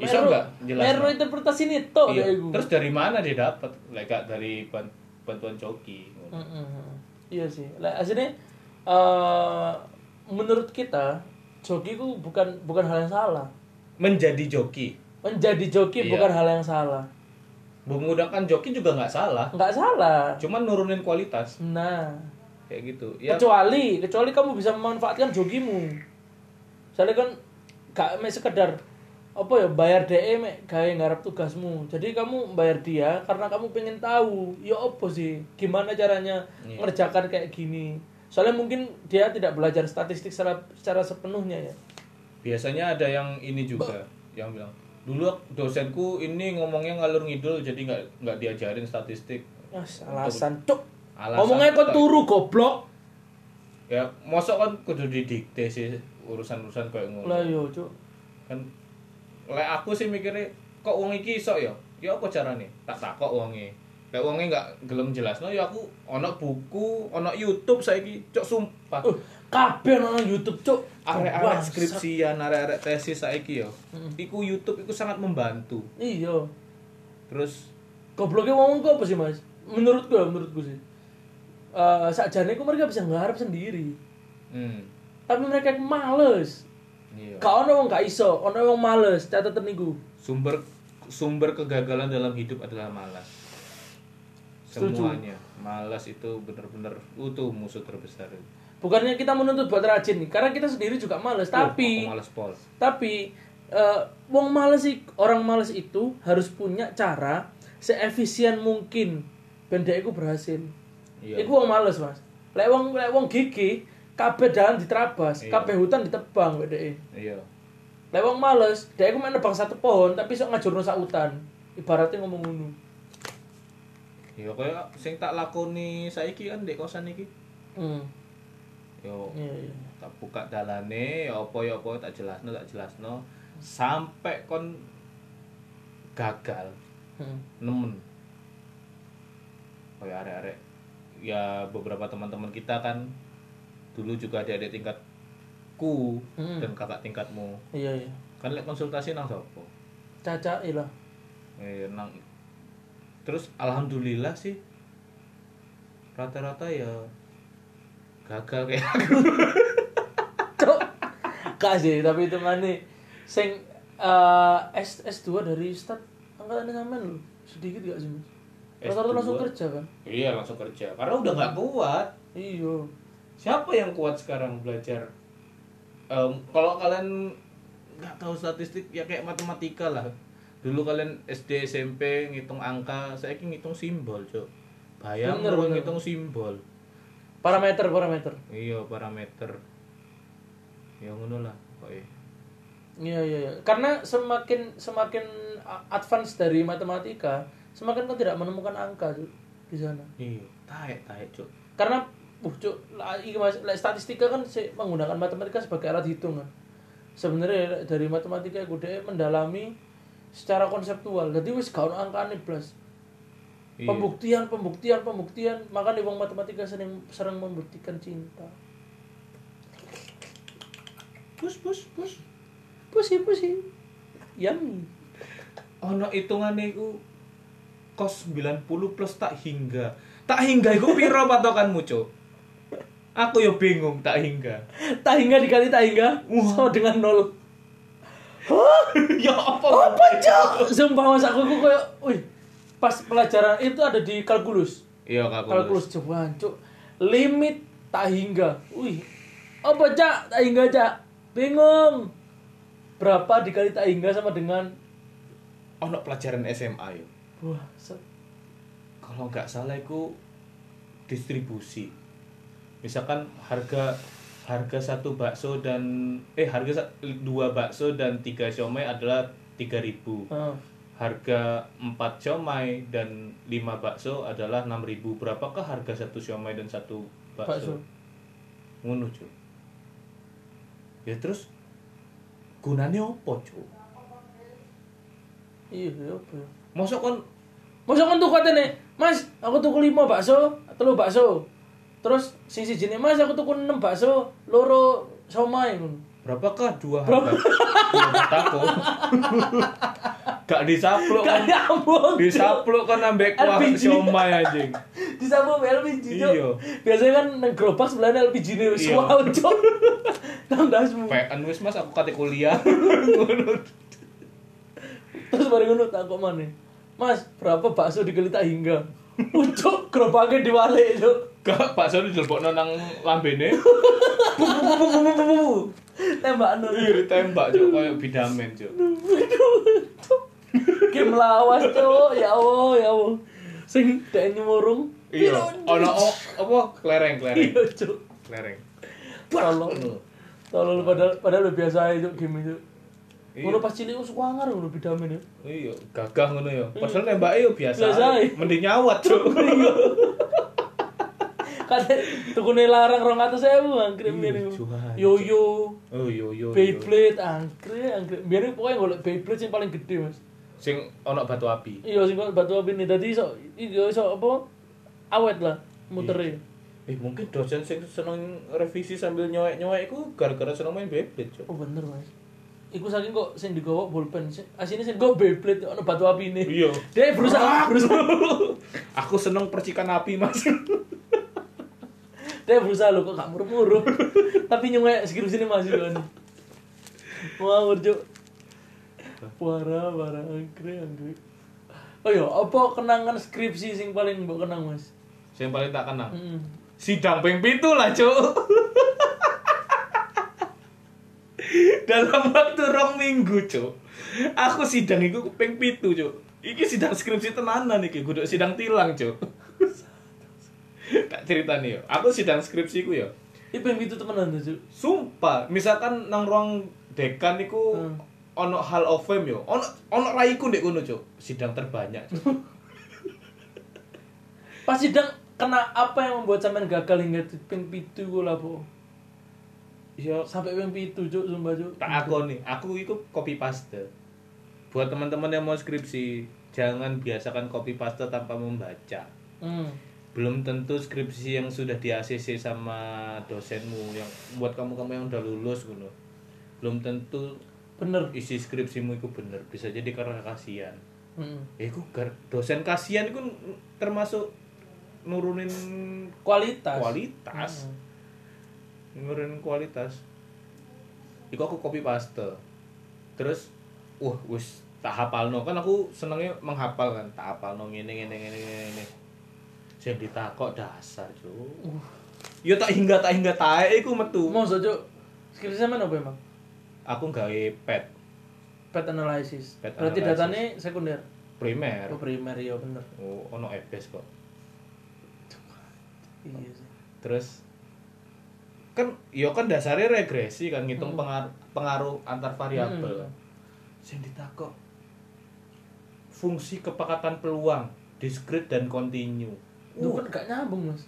Iso Meru- enggak Meru jelas? interpretasi nih toh Iya. dia iku. Terus dari mana dia dapat? Lah gak dari ban- bantuan joki. Mm-mm. Iya sih. Lah aslinya eh, menurut kita joki itu bukan bukan hal yang salah. Menjadi joki. Menjadi joki Iya. bukan hal yang salah. Menggunakan kan joki juga nggak salah. Enggak salah. Cuman nurunin kualitas Nah, kayak gitu. Ya kecuali kecuali kamu bisa memanfaatkan jokimu. Misalnya kan gak mek sekedar apa ya bayar DE mek gawe ngarep tugasmu. Jadi kamu bayar dia karena kamu pengen tahu ya apa sih gimana caranya Iya. ngerjakan kayak gini. Soalnya mungkin dia tidak belajar statistik secara, secara sepenuhnya ya. biasanya ada yang ini juga yang bilang dulu dosenku ini ngomongnya ngalur ngidul jadi nggak nggak diajarin statistik Ah, alasan cuk. Alasan. Ngomongnya kok turu goblok. ya mosok kan kudu didikte sih urusan-urusan kayak ngono Lah iya. yo cuk. kan lek aku sih mikirnya kok uang iki iso ya ya apa carane tak takok uangnya Lek wonge gak gelem jelasno ya aku ono buku, ono YouTube saiki, cok sumpah. Uh, kabeh nang YouTube, Cuk. Arek-arek Bangsat. skripsian, arek-arek tesis saiki ya. Mm. Iku YouTube iku sangat membantu. Iya. Terus Gobloknya wong kok apa sih, Mas? Menurutku ya, menurutku sih. Eh, sakjane ku mereka bisa ngharap sendiri. hmm, Tapi mereka iku males. iya. Gak ono wong gak iso, ono wong males, catatan niku. Sumber sumber kegagalan dalam hidup adalah malas. Setuju. Semuanya. Malas itu bener-bener itu musuh terbesar. Bukannya kita menuntut buat rajin, karena kita sendiri juga males, Oh, Aku tapi malas pol. tapi eh, wong males ik- orang males itu harus punya cara seefisien mungkin ben dhek iku berhasil. Iya. Iku wong males, Mas. Lek wong lek wong gigi, kabeh dalan diterabas, Iya. kabeh hutan ditebang wek dhek. e. Iya. Lek wong males, dhek iku main nebang satu pohon tapi sok ngajurno sak hutan. Ibaratnya ngomong ngono. Ya kaya sing tak lakoni saiki kan dek kosan iki. Hmm. Yo Iya, iya. tak buka dalane ya apa ya apa tak jelasno tak jelasno sampai kon gagal Hmm. nemen kayak arek-arek ya beberapa teman-teman kita kan dulu juga ada adik tingkatku Hmm. dan kakak tingkatmu Iya, iya. kan lek konsultasi nang sopo Caca lah. eh, nang terus alhamdulillah sih rata-rata ya gagal kayak aku Cuk. Gak sih, tapi itu mana sing eh, S S2 dari stat angkatannya sampean lho. Sedikit gak sih, Mas? Rata-rata S2? langsung kerja kan? iya langsung kerja karena udah nggak kuat Iya. siapa yang kuat sekarang belajar Em, kalau kalian nggak tahu statistik ya kayak matematika lah dulu kalian SD SMP ngitung angka saya ini ngitung simbol cok bayang Bener, kalau bener. ngitung simbol Parameter, parameter. iya parameter ya ngono lah kok Iya, iya, iya. Karena semakin semakin a- advance dari matematika, semakin kan tidak menemukan angka Cuk, di sana. iya taek taek cok Karena uh, Cuk, la- iki Mas, la- statistika kan se- menggunakan matematika sebagai alat hitungan. Sebenarnya la- dari matematika aku dhewe mendalami secara konseptual. Jadi wis gak ono angkane blas. Iya. Pembuktian, pembuktian, pembuktian. Maka nih wong matematika sering sering membuktikan cinta. pus pus pus Pusi, pusi. Yummy. ono hitungannya iku kos 90 plus tak hingga tak hingga iku piro patokanmu cok aku ya bingung tak hingga Tahingga dikali tahingga sama dengan nol. ya apa Apa cok? Sumpah mas aku aku kayak, wih, pas pelajaran itu ada di kalkulus. iya kak Kalkulus jawaban cok. Limit tak hingga. Wih, apa cak? Tak hingga cak. Bingung. Berapa dikali tak hingga sama dengan ono pelajaran SMA yo wah set. kalau nggak salah itu distribusi misalkan harga harga satu bakso dan eh harga sa- dua bakso dan tiga siomay adalah 3000 Ah. harga 4 siomay dan 5 bakso adalah 6000 berapakah harga satu siomay dan satu bakso, Bakso. ngono cuy ya terus gunanya apa cuy Iya, iya, apa ya? masa kon Masa kan tuku katene, Mas, aku tuku 5 bakso, telu bakso. Terus sisi jenis Mas, aku tuku 6 bakso, loro somai ngono. Berapakah dua harga? Dua batako. Gak disaplok kan. Gak nyambung. Disaplok kan ambek kuah LPG. siomay anjing. Disambung LPG. Cuk. Iya. Biasanya kan nang gerobak sebelahnya LPG ne wis Iya. wow, Cuk. Nang dasmu. PN wis Mas aku kate kuliah. Terus mari ngono tak kok maneh. Mas, berapa bakso dikali tak hingga? Ucuk gerobaknya diwalik, Cuk. Gak bakso dijelbokno nang lambene. Tembak nur. Ih ditembak cok koyo bidamen cok. Game lawas, Cuk. Ya Allah, ya Allah. Sing dek nyemurung. Iya. Ono Piro, o- apa klereng-klereng. Iya, Cuk. Klereng. Tolong. Tolong padahal padahal lu biasa aja Cuk, game itu. Iya. Ngono pas cilik wis wangar ngono bidamen ya. Iya, gagah ngono ya. Padahal nembake yo biasa. Hmm. Biasa, ae. iya. Mending nyawat cok. Kate tukune larang 200.000 Iya, angkrim ngene. Johan. Yoyo, Oh yo yo. yo. Beyblade angkrim, angkrim. Biar pokoknya golek Beyblade yang paling gede, Mas. sing ono batu api. Iya sing kok batu api ini dadi iso iya iso apa awet lah mutere. Eh mungkin dosen sing seneng revisi sambil nyoek-nyoek iku gara-gara seneng main Beyblade, Cuk. Oh bener Mas. Iku saking kok sing digawa bolpen. sing- Asine sing kok Beyblade ono batu api ini. Iya. Dia berusaha berusaha. Aku seneng percikan api, Mas. Dia berusaha lho kok gak murup-murup. Tapi nyungek segitu sini masih kan. Wah, urjuk. Parah, parah, angkre, angkre. Oh iya, apa kenangan skripsi sing paling mbok kenang, Mas? Hmm. sing paling tak kenang. Heeh. Sidang ping pitu lah, Cuk. Dalam waktu rong minggu, Cuk. Aku sidang iku ping pitu, Cuk. Iki sidang skripsi tenanan iki, guduk sidang tilang, Cuk. tak ceritani yo. Aku sidang skripsiku yo. Ipeng itu temenan tuh, Cuk. Sumpah, misalkan nang ruang dekan iku Hmm. ono hal of fame yo. Ono ono raiku ndek kono, Cuk. Sidang terbanyak, Cuk. Pas sidang kena apa yang membuat sampean gagal hingga di ping pitu gue lah po. Yo Sampai ping pitu cuk sumpah cuk. tak aku nih aku itu copy paste buat teman-teman yang mau skripsi jangan biasakan copy paste tanpa membaca Hmm. belum tentu skripsi yang sudah di ACC sama dosenmu yang buat kamu-kamu yang udah lulus gitu belum tentu Bener. isi skripsimu itu bener bisa jadi karena kasihan Hmm. ya itu gar- dosen kasihan itu termasuk nurunin Kualitas. kualitas Hmm. nurunin kualitas iku aku copy paste terus wah wis tak hafalno kan aku senengnya menghafal kan tak hafalno ngene ngene ngene ngene ngene sing ditakok dasar cuk Uh. yo tak hingga tak hingga tae iku metu Mau cuk. Skripsi sampean apa emang? aku gawe pet Pet analysis. Pet Berarti analysis. datanya sekunder. primer Oh, primer ya bener. oh, ono EBS kok Iya sih. terus kan yo kan dasarnya regresi kan ngitung pengar- pengaruh antar variabel kan. Hmm. sing ditakok fungsi kepekatan peluang diskrit dan kontinu Lu kan gak nyambung mas.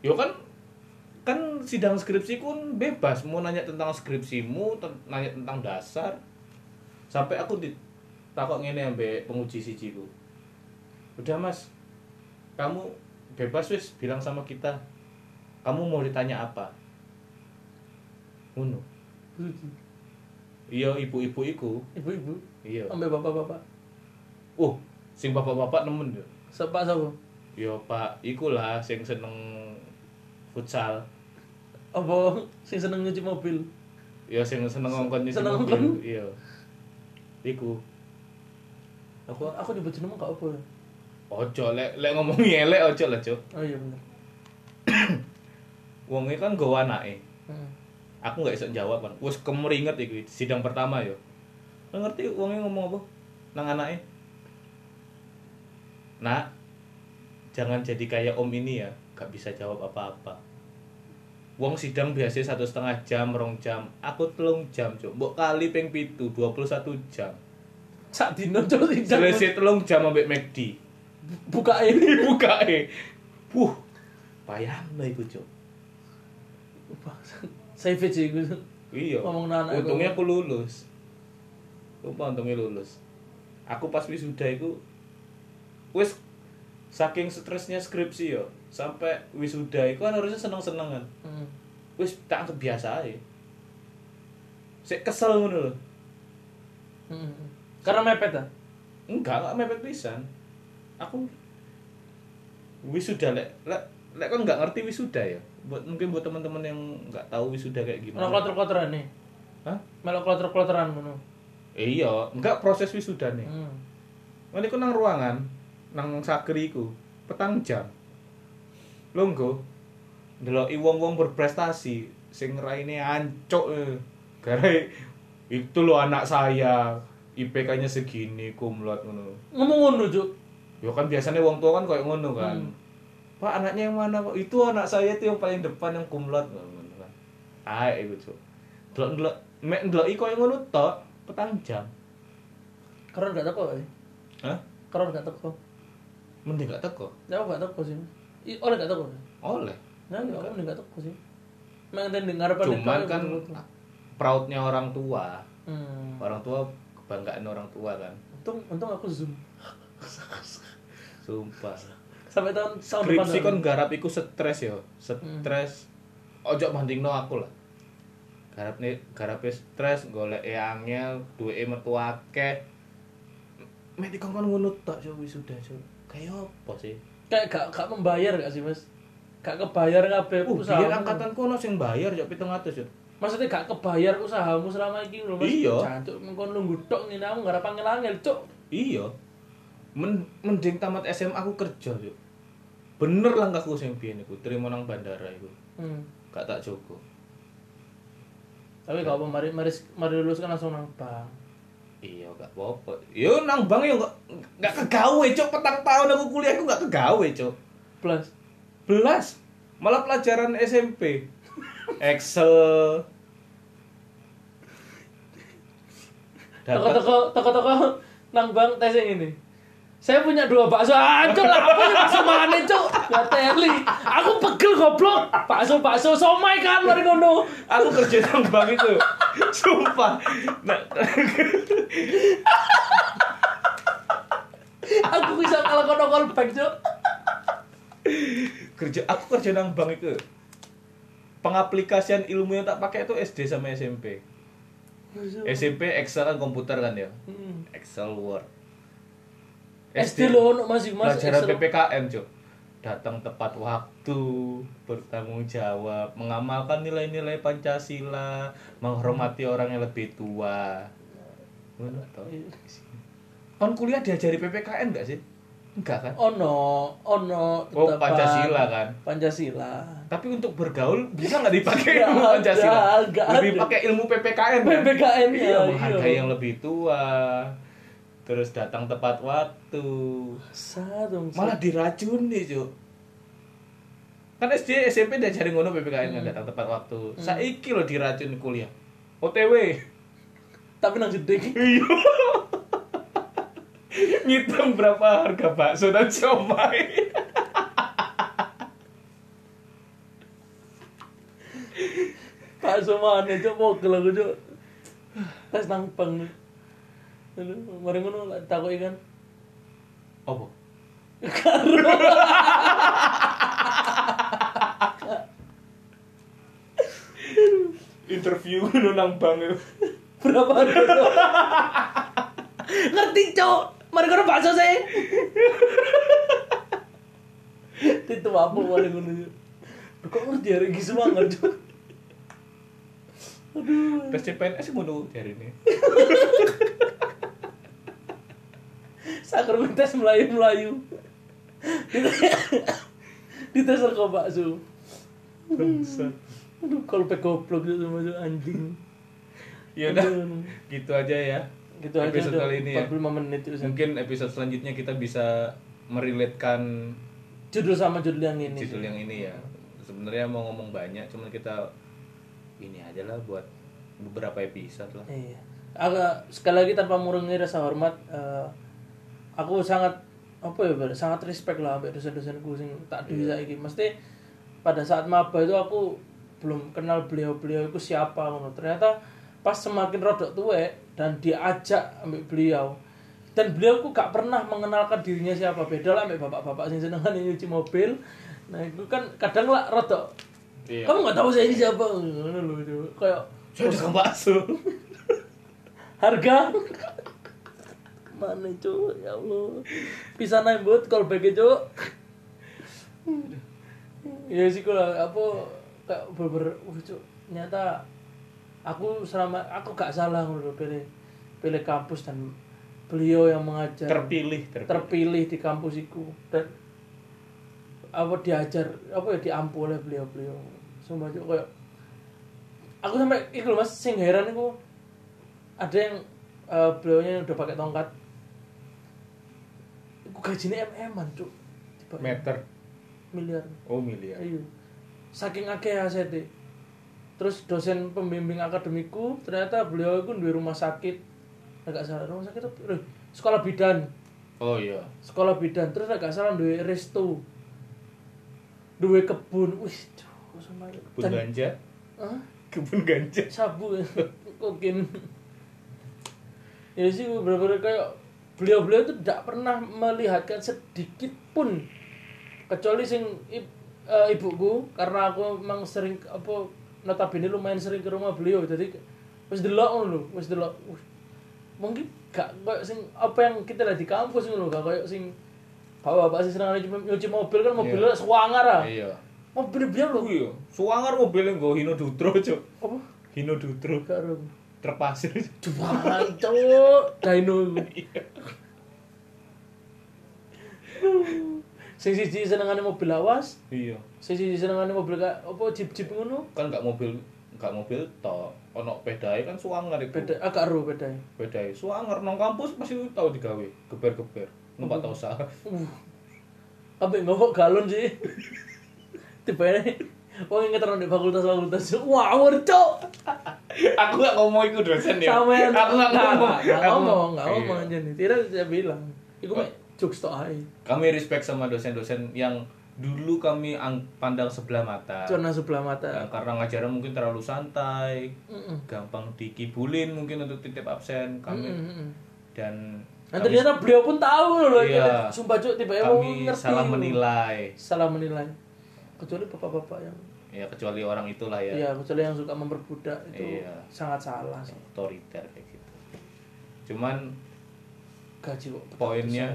yo kan kan sidang skripsi kun bebas mau nanya tentang skripsimu ten- nanya tentang dasar sampai aku ditakok ngene ambek penguji sijiku udah mas kamu bebas wis bilang sama kita kamu mau ditanya apa ngono iya ibu-ibu iku Ibu-ibu, iya sampai bapak-bapak. oh sing bapak-bapak nemen yo Sepak sapa? yo pak ikulah sing seneng futsal Apa sing seneng nyuci mobil? ya sing seneng ngongkon nyuci Seneng mobil ngongkon. iya iku Aku aku nyebut jeneng gak apa ya? ojo lek lek ngomongi elek ojo lah cuk Oh iya bener. wonge kan nggawa anake Heeh. aku nggak iso jawab kan wis kemeringet iku sidang pertama yo Nggak ngerti wonge ngomong apa nang anake nak jangan jadi kayak om ini ya gak bisa jawab apa-apa Wong sidang biasanya satu setengah jam, rong jam. Aku telung jam, cuk. Mbok kali ping pitu, 21 jam. Sak dino cuk sing Selesai telung jam ambek E McD. buka ini. dibuka eh wuh bayang lo iku cok Bangsat. Savage sih gue. iya Ngomong nang anak untungnya aku lulus Sumpah untungnya lulus aku pas wisuda iku wis saking stresnya skripsi yo sampai wisuda iku kan harusnya seneng senengan Hmm. wis tak anggap biasa aja Sik kesel ngono lho Hmm. Karena mepet ah. enggak enggak mepet pisan aku wisuda lek lek lek kan nggak ngerti wisuda ya buat mungkin buat teman-teman yang nggak tahu wisuda kayak gimana Melok kloter-kloteran nih. Iya. Hah? Melok kloter-kloteran ngono. Eh, iya enggak proses wisuda nih Hmm. Ini aku nang ruangan nang sakeriku petang jam longgo ndeloki wong-wong berprestasi sing raine ancok eh. gara itu lo anak saya IPK-nya segini kumlot ngono Ngomong ngono cuk. Ya kan biasanya wong tua kan kayak ngono kan. Hmm. Pak anaknya yang mana pak? Itu anak saya tuh yang paling depan yang kumlot ngono kan. Ah itu cuk. Delok delok mek delok iko yang ngono tok petang jam. Karena gak teko. eh. Hah? Karena gak teko. Mending gak teko. Ya aku gak teko sih. I, oleh gak teko. Oleh. Nah, ya, aku mending gak teko sih. Mek enten dengar apa Cuman kan proudnya orang tua. Hmm. Orang tua kebanggaan orang tua kan. untung untung aku zoom Sumpah. sampai tahun tahun depan Skripsi kon garap iku stres yo, stres. Hmm. Ojo bandingno aku lah. Garap nih, garape stres, golek e angel, duwe metu akeh. Mek dikon kon ngono tok yo wis sudah yo. Kayak apa sih? kayak gak gak membayar gak sih mas gak kebayar kabeh Uh, usaha biar angkatanku ono sing bayar yo 700 yo. maksudnya gak kebayar usahamu selama ini lho mas Iya. jancuk mengkon lu ngutok ngene aku ngarep angel-angel cuk Iya. Men mending tamat SMA aku kerja yo. Bener langkahku sing biyen iku, trimo nang bandara iku. hmm. Gak tak jogo. Ya. tapi gak apa mari mari mari lulus kan langsung nang bank Iya gak apa-apa. Yo nang bang yo gak, gak kegawe cok petang tahun aku kuliah aku gak kegawe cok. plus Belas malah pelajaran SMP. Excel. Dapat toko-toko toko-toko nang bank tes yang ini saya punya dua bakso ancur lah apa sih bakso mana cuk gak teli aku pegel goblok bakso bakso somai kan mari ngono aku kerja nang bank itu. Sumpah. Nah, aku bisa kalau kono kol bank cuk kerja aku kerja nang bank itu. Pengaplikasian ilmu yang tak pakai itu SD sama SMP. SMP Excel kan komputer kan ya. Hmm. Excel Word. SD lo ono masih mas eh, pelajaran Excel. PPKM cok datang tepat waktu bertanggung jawab mengamalkan nilai-nilai pancasila menghormati orang yang lebih tua Ngono toh. Iya. kon kuliah diajari ppkn nggak sih enggak kan ono ono Oh, tetapan. Pancasila kan? Pancasila tapi untuk bergaul bisa nggak dipakai Nggak ilmu ada, pancasila nggak lebih ada. pakai ilmu ppkn kan? PPKN, iya ya, menghargai iya. yang lebih tua terus datang tepat waktu satu malah diracuni cuk kan SD SMP diajarin ngono PPKN Hmm. nggak kan, datang tepat waktu saiki lo diracun kuliah OTW tapi nang gede Iya. ngitung berapa harga bakso dan siomay bakso mana cuk pegel aku cuk tes nang bank Aduh, mari ngono lah takoki kan apa interview lu nang bank berapa harga ngerti cok mari kono bakso sih itu apa mari kono Cuk. Duh, kok ngerti hari ini semua ngerti Cuk? aduh tes CPNS ngono dari ini sakar tes melayu melayu di tes kok bakso Bangsat. aduh kalau pe goblok itu semua Cuk, anjing ya udah Aduh. gitu aja ya gitu aja episode udah kali ini ya 45 menit itu mungkin episode selanjutnya kita bisa meriletkan judul sama judul yang ini judul yang ini ya sebenarnya mau ngomong banyak cuman kita ini aja lah buat beberapa episode lah Iya. Agak sekali lagi tanpa mengurangi rasa hormat, eh, aku sangat apa ya Bar, sangat respect lah ambek dosen-dosenku sing tak duwe Iya. saiki. Mesti pada saat maba itu aku belum kenal beliau-beliau itu siapa ngono. Ternyata pas semakin rodok tuwek dan diajak ambek beliau dan beliau ku gak pernah mengenalkan dirinya siapa beda lah ambek bapak-bapak sing senengan nyuci mobil. Nah, itu kan kadang lah rodok. Iya. Kamu gak tahu saya ini siapa? Ngono lho. Cuk. Kayak saya tukang bakso harga mana cu ya allah bisa naik buat call back cu ya sih kalau apa kayak berber wah cu nyata aku selama aku gak salah ngono lho, pilih pilih kampus dan beliau yang mengajar terpilih terpilih terpilih di kampus iku dan apa diajar apa ya diampu oleh beliau-beliau semua juga kayak aku sampai iku loh, mas sing heran iku ada yang eh, beliaunya yang udah pakai tongkat iku gajinya mm an cuk Tiba- meter miliar oh miliar ayo saking akeh HCT terus dosen pembimbing akademiku ternyata beliau itu di rumah sakit agak salah rumah sakit apa? Eh, sekolah bidan oh iya sekolah bidan terus agak salah duwe resto duwe kebun wih cuh sama kebun ganja Hah? kebun ganja sabu kokin ya sih bener-bener kayak beliau-beliau itu tidak pernah melihatkan sedikit pun kecuali sing i- eh, ibuku karena aku memang sering apa notabene lumayan sering ke rumah beliau jadi wis delok ngono lho wis delok Wih, mungkin gak koyo sing apa yang kita lihat di kampus ngono lho, gak koyo sing bapak-bapak sih senang nyuci nyuci mobil kan mobilnya yeah. suangar ah Iya. mobil beliau lho Kuwi yo. Suwangar mobilnya nggo Hino Dutro, Cuk. apa Hino Dutro gak ro terpasir. Cuman cowok Dino Sing siji senengane mobil lawas, Iya. sing siji senengane mobil ka, apa jeep-jeep ngono. Kan nggak mobil nggak mobil tok. Ono pedae kan suangar iku. Beda agak ro bedae. Pedae suangar nang kampus pasti tahu digawe, geber-geber. Numpak tau usaha. Uh. Ambek ngobok galon sih. Tiba-tiba wong inget di fakultas-fakultas. Wah, cok. aku nggak ngomong iku dosen ya. Sama yang aku nggak ngomong. Nggak Aku- ngomong, nggak Iya. ngomong aja nih. Tidak saya bilang. Iku mek jokes tok ae. Kami respect sama dosen-dosen yang dulu kami ang- pandang sebelah mata. Zona sebelah mata. Nah, karena ngajarnya mungkin terlalu santai, Heeh. gampang dikibulin mungkin untuk titip absen kami Heeh. dan Dan ternyata beliau pun tahu loh Iya. ini. Sumpah cuk tiba-tiba kami ngerti. salah menilai. Salah menilai. Kecuali bapak-bapak yang Ya kecuali orang itulah ya. ya kecuali yang suka memperbudak itu Iya. sangat salah sih. otoriter kayak gitu. Cuman Gaji kok. poinnya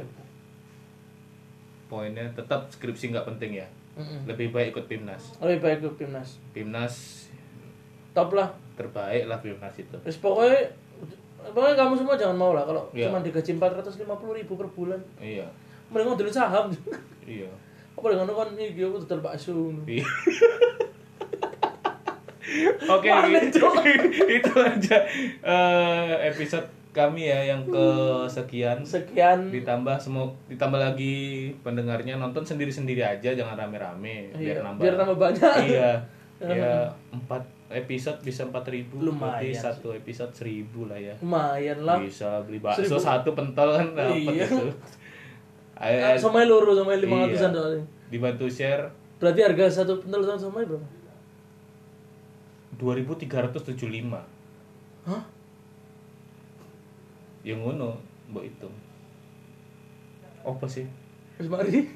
poinnya tetap skripsi nggak penting ya. Mm-mm. Lebih baik ikut Pimnas. Lebih baik ke timnas. Pimnas Top lah. terbaik lah Pimnas itu. Terus pokoknya pokoknya kamu semua jangan mau lah kalau Iya. cuma digaji 450 ribu per bulan. Iya. Mending ngodol saham. Iya. Apa dengan kan iki aku dodol bakso. Iya. Oke, Warnet, itu, itu aja eh, episode kami ya yang ke sekian Sekian ditambah semua ditambah lagi pendengarnya nonton sendiri-sendiri aja jangan rame-rame biar Iya, nambah biar tambah banyak. iya ya empat episode bisa empat ribu Lumayan berarti sih. satu episode seribu lah ya lumayan lah. bisa beli bakso Seribu. satu pentol kan dapat Iya. itu Ayo, Eh, ayo, somai loro somai Iya. 500-an soalnya. dibantu share Berarti harga satu pentol sama ya, somai berapa? 2375 Hah? ya ngono mbok hitung apa sih Wis mari.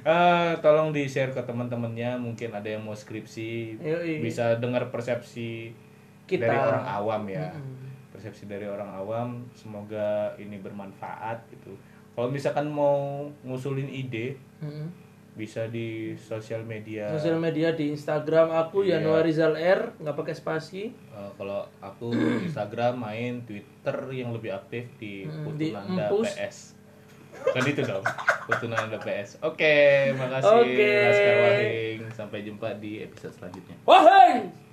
Eh, tolong di share ke teman-temannya mungkin ada yang mau skripsi Yoi. bisa dengar persepsi Kita. dari orang awam ya Mm-mm. persepsi dari orang awam semoga ini bermanfaat gitu kalau misalkan mau ngusulin ide Mm-mm. bisa di sosial media Mm-hmm. Sosial media di Instagram aku Iya. Januarizal R nggak pakai spasi Eh, kalau aku Instagram main Twitter yang lebih aktif di Hmm, di Putunanda Empus. PS kan itu dong Putunanda PS oke makasih Oke. Laskar Wahing sampai jumpa di episode selanjutnya Wahai!